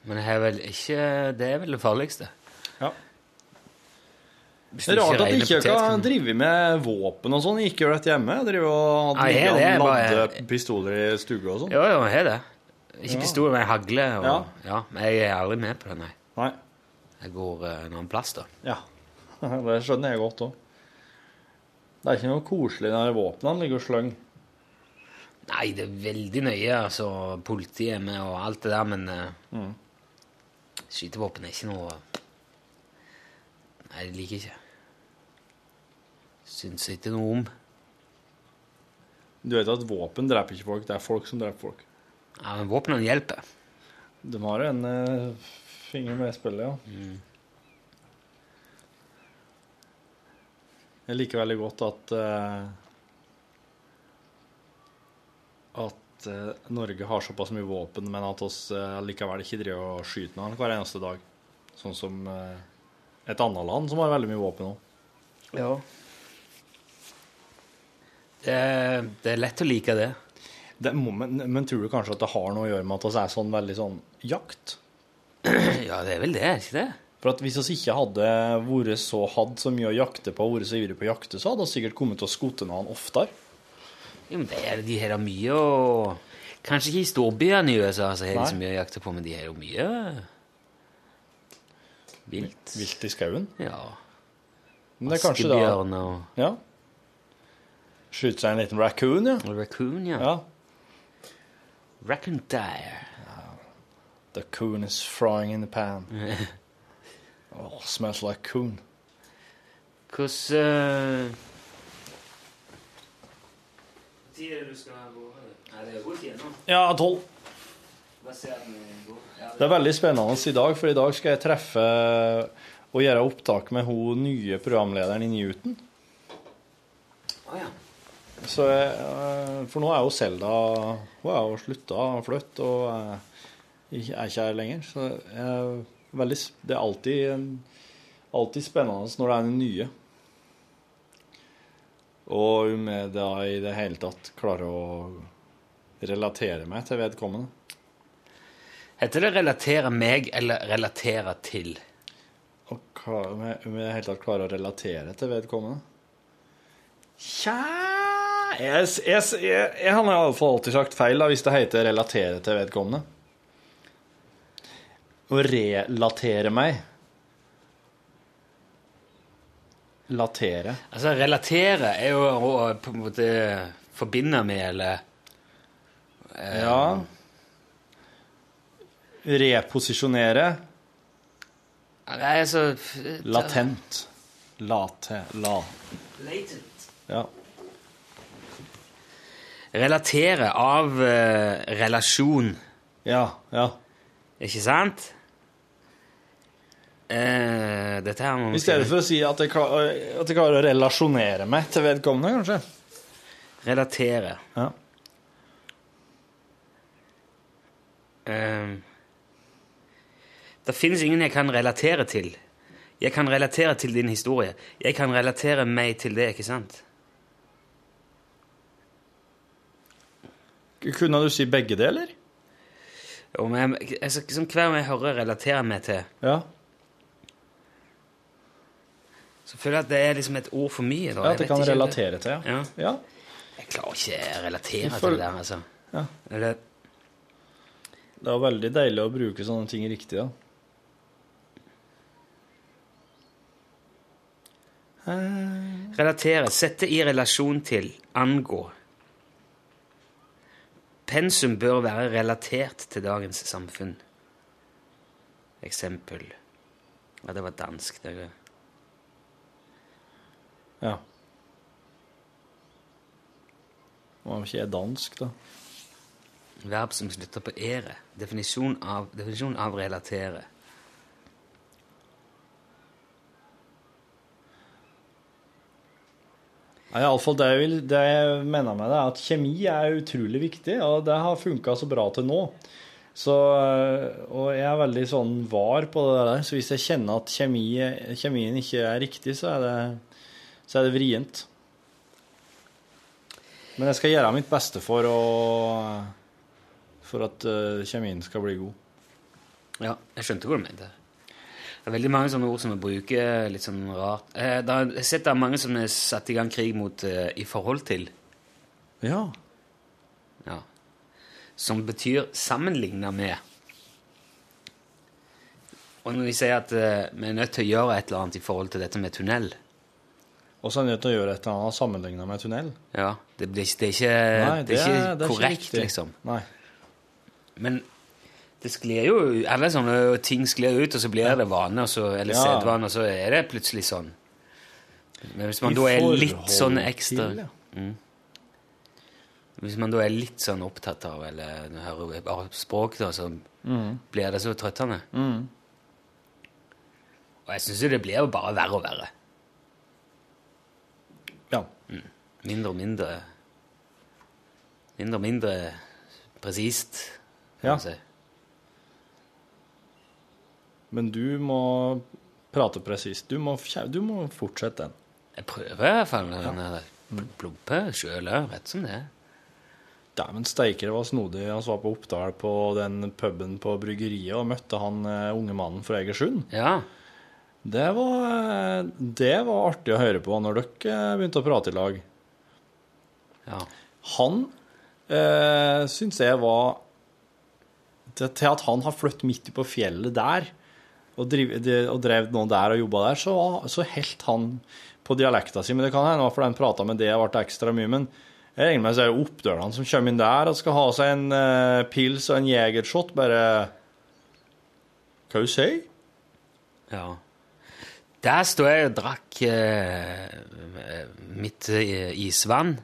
men jeg har vel ikke Det er vel det farligste. ja. Hvis Det er du rart at regner de ikke kan potetgull. drive med våpen og sånn. Ikke gjør dette hjemme. Driver og Nei, jeg- det er ladde bare- pistoler i stue og sånn. Jo, jo, jeg har det. Ikke pistol, men hagle. Og, ja. Ja. men jeg er aldri med på det, nei. Nei. Jeg går eh, en annen plass, da. Ja. Det skjønner jeg godt òg. Det er ikke noe koselig når våpnene ligger og slynger. Nei, det er veldig nøye, altså. Politiet er med og alt det der, men eh, Mm. skytevåpen er ikke noe Nei, det liker jeg ikke. Syns ikke noe om. Du vet at våpen dreper ikke folk. Det er folk som dreper folk. Ja, men våpnene hjelper. De har en eh, finger med i spillet, ja. Jeg liker veldig godt at eh, at eh, Norge har såpass mye våpen, men at oss eh, likevel ikke driver og skyter med den hver eneste dag. Sånn som eh, et annet land som har veldig mye våpen òg. Ja. Det, er- det er lett å like det. Det må- Men, men tror du kanskje at det har noe å gjøre med at oss er sånn veldig sånn jakt? Ja, det er vel det, er ikke det? For at hvis oss ikke hadde vært så hadd så mye å jakte på, vært så ivrig på å jakte, så hadde oss sikkert kommet til å skote noen oftere. Jo, men det er, de har da mye å Kanskje ikke i storbyene i USA altså, så har de så Nei. mye å jakte på, men de har jo mye vilt. Vilt i skauen. Ja. Men det er kanskje da Askebjørn og Ja. Skyte seg en liten raccoon, ja. og raccoon, ja. ja. Raccoon dire. The coon is frying in the pan. oh, smells like coon. Hvordan eh, Når er det du skal gå? Nei, det er godt igjennom. Ja, tolv. Hva ser du? Det er veldig spennende i dag, for i dag skal jeg treffe og gjøre opptak med hun nye programlederen i Newton. Å ja. Så jeg, eh, for nå er jo Selda Hun er jo slutta og flytt og eh, ikke- er ikke her lenger. Så jeg Veldig, s- det er alltid, alltid spennende når det er noe nye. Og om jeg da i det hele tatt klarer å relatere meg til vedkommende. Heter det 'relatere meg' eller 'relatere til'? Og klar, om, jeg, om jeg i det hele tatt klarer å relatere til vedkommende. Tja Jeg, s- jeg, s- jeg, jeg har iallfall alltid sagt feil da, hvis det heter 'relatere til vedkommende'. Å relatere meg. Latere. Altså, relatere er jo å på en måte forbinde med, eller Ja. Reposisjonere. Nei, altså Latent. Late. La. Latent. Ja. Relatere av eh, relasjon, Ja. ja. ikke sant? Eh, dette her må I stedet for å si at jeg, klar, at jeg klarer å relasjonere meg til vedkommende, kanskje. Relatere. Ja. Eh, det finnes ingen jeg kan relatere til. Jeg kan relatere til din historie. Jeg kan relatere meg til det, ikke sant? Kunne du si begge deler? Om jeg, altså, som hver gang jeg hører 'relatere meg til', Ja. så føler jeg at det er liksom et ord for mye. Da. ja Jeg at jeg vet kan ikke- relatere til, ja. Ja. ja. Jeg klarer ikke å Du relatere til føler- det der, altså. Ja. Eller, Det er veldig deilig å bruke sånne ting riktig, da. relatere, sette i relasjon til, angå. Pensum bør være relatert til dagens samfunn. Eksempel. Ja, det var dansk. Det var. Ja. Nå er jo ikke jeg dansk, da. Verb som slutter på ere. Definisjon av, definisjon av relatere. Ja, i alle fall det, jeg vil, det jeg mener med det, er at kjemi er utrolig viktig, og det har funka så bra til nå. Så, øh, og jeg er veldig sånn var på det der, så hvis jeg kjenner at kjemi, kjemien ikke er riktig, så er det, så er det vrient. Men jeg skal gjøre mitt beste for, å, for at øh, kjemien skal bli god. Ja, jeg skjønte hva du mente. Det er veldig mange sånne ord som vi bruker litt sånn rart. Eh, da, jeg har sett det er mange som er satt i gang krig mot eh, i forhold til. Ja. Ja. Som betyr sammenligna med. Og når de sier at eh, vi er nødt til å gjøre et eller annet i forhold til dette med tunnel Og så er jeg nødt til å gjøre et eller annet sammenligna med tunnel. ja, Det, blir ikke- det er ikke, det er ikke korrekt, riktig. liksom. Nei. Men det sklir jo Alle sånne ting sklir ut, og så blir det vane, og så, eller Ja. sedvane, og så er det plutselig sånn. Men hvis man I da er forhold litt sånn ekstra til, ja. Hvis man da er litt sånn opptatt av eller når jeg hører bare språk, da, så blir det så trøttende. Og jeg syns jo det blir jo bare verre og verre. ja. Mindre og mindre Mindre og mindre presist, kan Ja. man si. Men du må prate presist. Du må, kjæ- du må fortsette den. Jeg prøver i hvert fall. Ja. Blubbe sjøl òg, rett som det er. Dæven steike, det var snodig. Han var på Oppdal på den puben på bryggeriet og møtte han eh, unge mannen fra Egersund. Ja. Det var, eh, det var artig å høre på når dere eh, begynte å prate i lag. Ja. Han eh, syns jeg var til, til at han har flyttet midt på fjellet der, og, driv, de, og drev noe der og jobba der, så, så helt han på dialekta si. Men det kan hende det var fordi han prata med det og ble ekstra mye. Men jeg regner med at det er jo oppdølene som kommer inn der og skal ha seg en eh, pils og en jegershot, bare Hva du sier ja. Der sto jeg og drakk eh, mitt eh, isvann.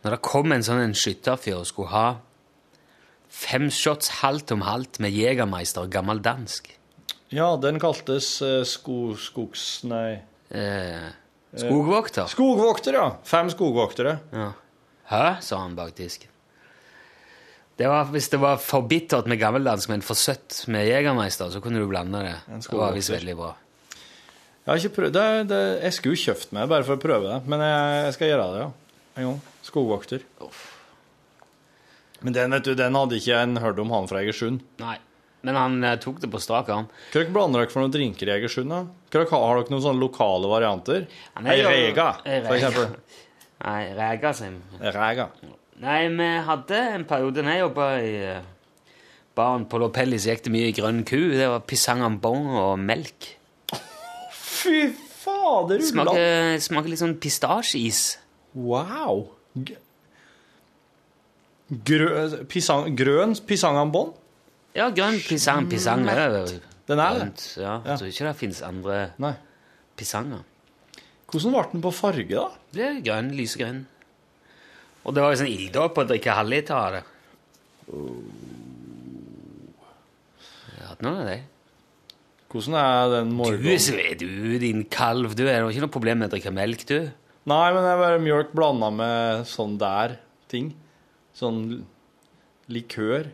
Når det kom en sånn en skytterfyr og skulle ha fem shots halvt om halvt med Jegermeister og gammel dansk Ja, den kaltes eh, sko, skogs... Nei. eh, Skogvokter. Skogvokter, ja. Fem skogvoktere. Ja. Hæ? sa han bak disken. Det var, hvis det var for bittert med gammeldansk, men for søtt med Jegermeister, så kunne du blande det. En Det var visst veldig bra. Jeg, har ikke prøvd, det, er- det, er- jeg skulle jo kjøpt meg bare for å prøve det, men jeg, jeg skal gjøre det, ja. En gang. Skogvokter. Men den, vet du, den hadde ikke jeg hørt om han fra Egersund. Nei. Men han eh, tok det på strak arm. Hva dere blander dere for noen drinker i Egersund, da? Hva dere, har dere noen sånne lokale varianter? Han er Ei jo- rega, Ei for rega. eksempel. Nei, Rega sin. Rega. Nei, vi hadde en periode når jeg jobba i eh, baren på Lopelli, så gikk det mye grønn ku. Det var pisang ambong og melk. Fy fader, Ulla! Smaker, smaker litt sånn pistasjeis. Wow! G- Grø, pisang, grøn pisangambon? Ja, grønn pisang. Pisang er jo Den er det. grønt, Ja, Ja. jeg tror ikke det fins andre Nei. pisanger. Hvordan ble den på farge, da? Det er grønn, lysegrønn. Og det var jo sånn ilddåp å drikke halvliter av det. Jeg hadde noen av det. Hvordan er den Du, morgenen? Sve, du, din kalv. Du er jo ikke noe problem med å drikke melk, du. Nei, men det er bare mjølk blanda med sånn der ting. Sånn l- likør.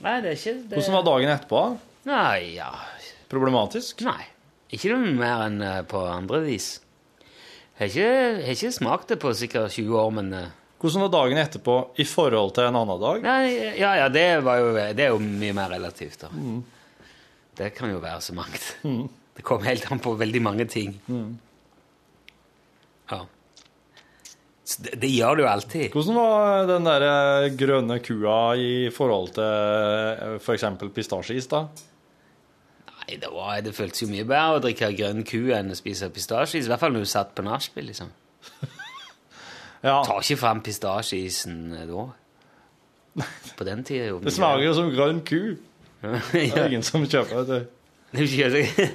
Nei, det er ikke det. Hvordan var dagen etterpå? Nei, ja. Problematisk? Nei. Ikke noe mer enn eh, på andre vis. Har ikke, har ikke smakt det på sikkert 20 år, men eh, Hvordan var dagen etterpå i forhold til en annen dag? Nei, ja, ja, det, var jo, det er jo mye mer relativt, da. Det kan jo være så mangt. Det kom helt an på veldig mange ting. Ja. Så det, det gjør det jo alltid. Hvordan var den der eh, grønne kua i forhold til f.eks. pistasjeis, da? Nei, det, var, det føltes jo mye bedre å drikke grønn ku enn å spise pistasjeis. I hvert fall når du satt på nachspiel, liksom. Ja, Tar ikke fram pistasjeisen eh, da. På den tida, jo. det smaker jo som grønn ku. Det ja, er ingen som kjøper det. det er jo ikke-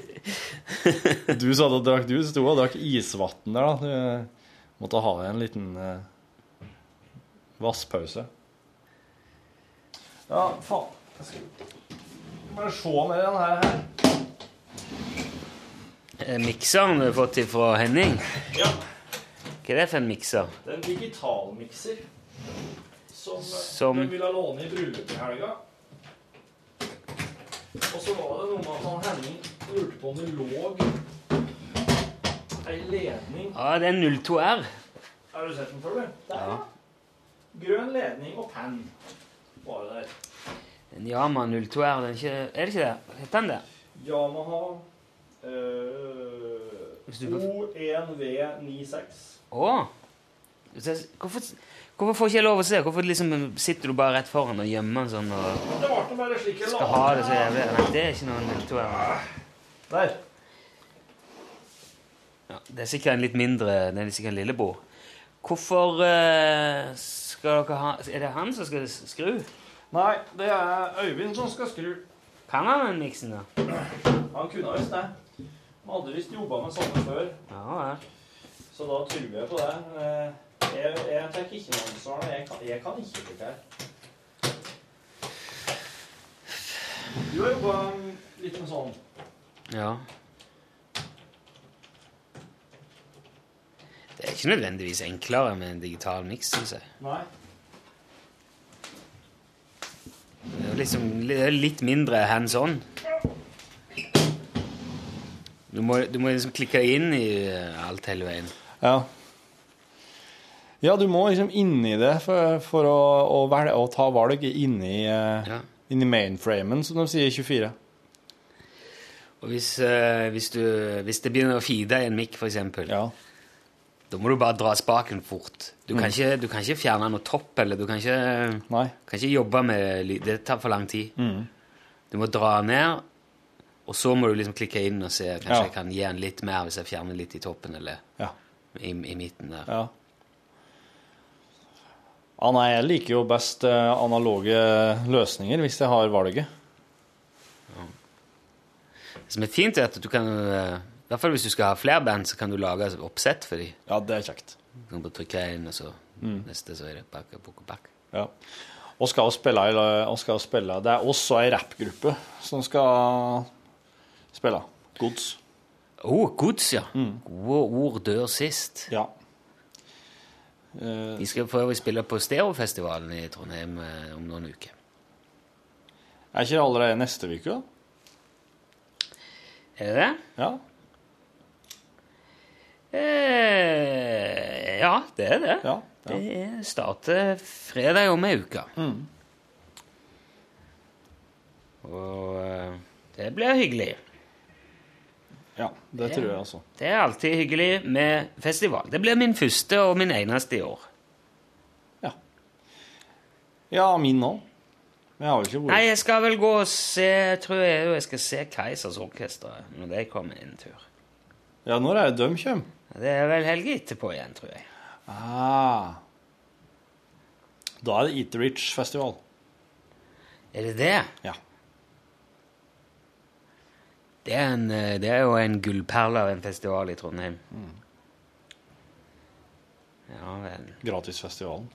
Du satt og drakk, du sto og drakk isvann der, da. Du eh, måtte ha en liten eh, vasspause. Ja, faen. Jeg skal bare se med den her. her. Eh, Mikseren du har fått fra Henning. Ja. Hva er det for en mikser? Det er en digitalmikser som, Som- de ville låne i bryllupet i helga. Og så var det noe med at han Henning lurte på om det lå ei ledning Ja, det er 02R. Har du sett den før, du? Der, ja. Grønn ledning og penn var det der. En Yama 02R, den er, ikke, er det ikke det? Hva Heter den det? Yamaha eh, Hvis du kan- O1V96. Å! Så- Hvorfor, hvorfor får ikke jeg lov å se? Hvorfor liksom sitter du bare rett foran og gjemmer den sånn og Det ble nå bare slik jeg skal ha det så jævlig? Nei, det er ikke noen 02R. Der. Ja, det er sikkert en litt mindre Det er sikkert en lillebror. Hvorfor eh, skal dere ha Er det han som skal skru? Nei, det er Øyvind som skal skru. Kan han den miksen, da? Han kunne visst det. Han hadde visst jobba med sånne før, Ja, ja. så da tror jeg på det. Eh, Jeg, jeg tar ikke noe ansvar. Jeg kan, jeg kan ikke det her. Du har jobba litt med sånn. Ja. Det er ikke nødvendigvis enklere med en digital miks, syns jeg. Nei. Det er jo liksom det er litt mindre hands on. Du må, du må liksom klikke deg inn i eh, alt hele veien. Ja. Ja, du må liksom inni det for, for å, å, velge, å ta valg inni, eh, Ja. inni mainframen, som de sier i 24. Og hvis, eh, hvis, du, hvis det begynner å feede i en mic, f.eks., eksempel, Ja. da må du bare dra spaken fort. Du Mm. kan, ikke, du kan ikke fjerne noe topp, eller du kan ikke Nei. kan ikke jobbe med lyd. Det tar for lang tid. Mm. Du må dra ned, og så må du liksom klikke inn og se. Kanskje Ja. jeg kan gi den litt mer hvis jeg fjerner litt i toppen eller Ja. i, i midten der. Ja. Ja, nei, jeg liker jo best eh, analoge løsninger hvis jeg har valget. Det som er fint, er at du kan eh, I hvert fall hvis du skal ha flere band, så kan du lage et oppsett for dem. Ja, det er kjekt. Du kan bare trykke inn, og så Mm. neste, så er det bak, bak, bak. Ja. Og skal jo spille, i la- og skal jo spille. Det er også ei rappgruppe som skal spille. Gods. Mm. Å, gods, ja! Gode ord dør sist. Ja. Eh, De skal for øvrig spille på Stereofestivalen i Trondheim eh, om noen uker. er ikke det allerede neste uke, da? Er det det? Ja. Eh, ja, det er det. ja, ja. Mm. Det er- starter fredag om ei uke. Og eh, det blir hyggelig. ja det tror jeg, altså. Det er alltid hyggelig med festival. Det blir min første og min eneste i år. Ja, ja min òg. Men jeg har jo ikke Nei, vært jeg skal vel gå og se Jeg tror jeg, jo jeg skal se Keisers Orkester når de kommer en tur. Ja, når er det de kommer? Det er vel helga etterpå igjen, tror jeg. Ah. Da er det Eat the Rich-festival. Er det det? Ja. Det er, en, eh, det er jo en gullperle av en festival i Trondheim. Ja vel. Gratisfestivalen.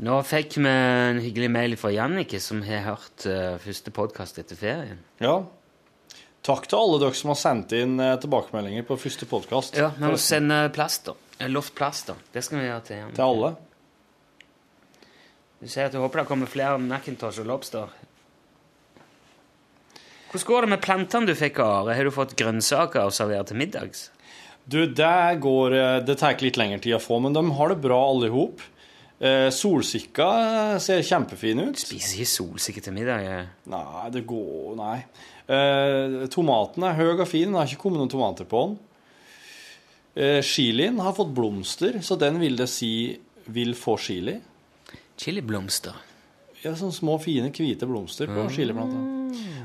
Nå fikk vi en hyggelig mail fra Jannicke, som har hørt eh, første podkast etter ferien. Ja. Takk til alle dere som har sendt inn eh, tilbakemeldinger på første podkast. Ja, Vi må sende plaster. Eh, Lovt plaster. Det skal vi gjøre til Jannicke. Til alle. Du sier at du håper det kommer flere Macintosh og Lobster. Hvordan går det med plantene du fikk av Are? Har du fått grønnsaker å servere til middags? Du, det går eh, Det tar litt lengre tid å få, men de har det bra alle i hop. Eh, Solsikka eh, ser kjempefin ut. Spiser ikke solsikker til middag. jeg. Nei, det går Nei. Eh, tomaten er høy og fin. Det har ikke kommet noen tomater på den. Eh, chilien har fått blomster, så den vil det si vil få chili. Chiliblomster. Ja, sånne små, fine, hvite blomster på chiliplanta.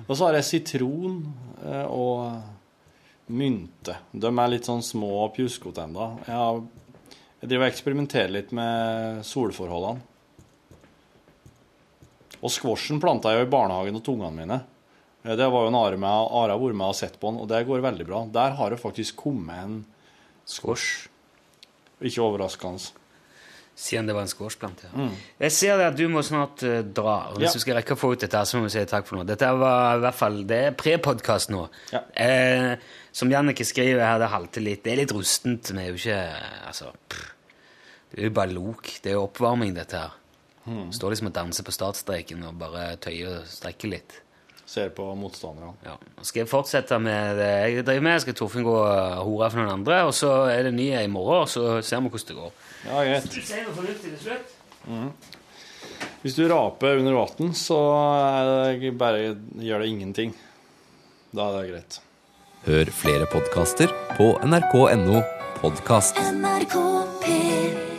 Og så har jeg sitron eh, og mynte. De er litt sånn små og pjuskete ennå. Jeg, har- jeg driver og eksperimenterer litt med solforholdene. Og squashen planta jeg jo i barnehagen og ungene mine. Eh, Det var jo en Are med, Are har vært med og sett på den, og det går veldig bra. Der har det faktisk kommet en squash. Ikke overraskende. Siden det var en squashplante. ja. Jeg ser det at du må snart eh, dra. og Hvis Mm. Ja. du skal rekke å få ut dette, her, så må vi si takk for nå. Dette var i hvert fall Det er pre-podkast nå. Ja. Eh, som Jannicke skriver her, det halter litt. Det er litt rustent. Vi er jo ikke eh, Altså pff. Det er jo bare lok. Det er jo oppvarming, dette her. Mm. Står liksom og danser på startstreken og bare tøyer og strekker litt. Ser på motstanderne. Ja. Nå Skal jeg fortsette med det jeg driver med? Skal Torfinn gå og hore for noen andre? Og så er det nye i morgen, og så ser vi hvordan det går. Ja, greit. Si noe fornuftig til slutt. Hvis du raper under vann, så er det bare gjør det ingenting. Da er det greit. Hør flere podkaster på nrk.no podkast. NRK P3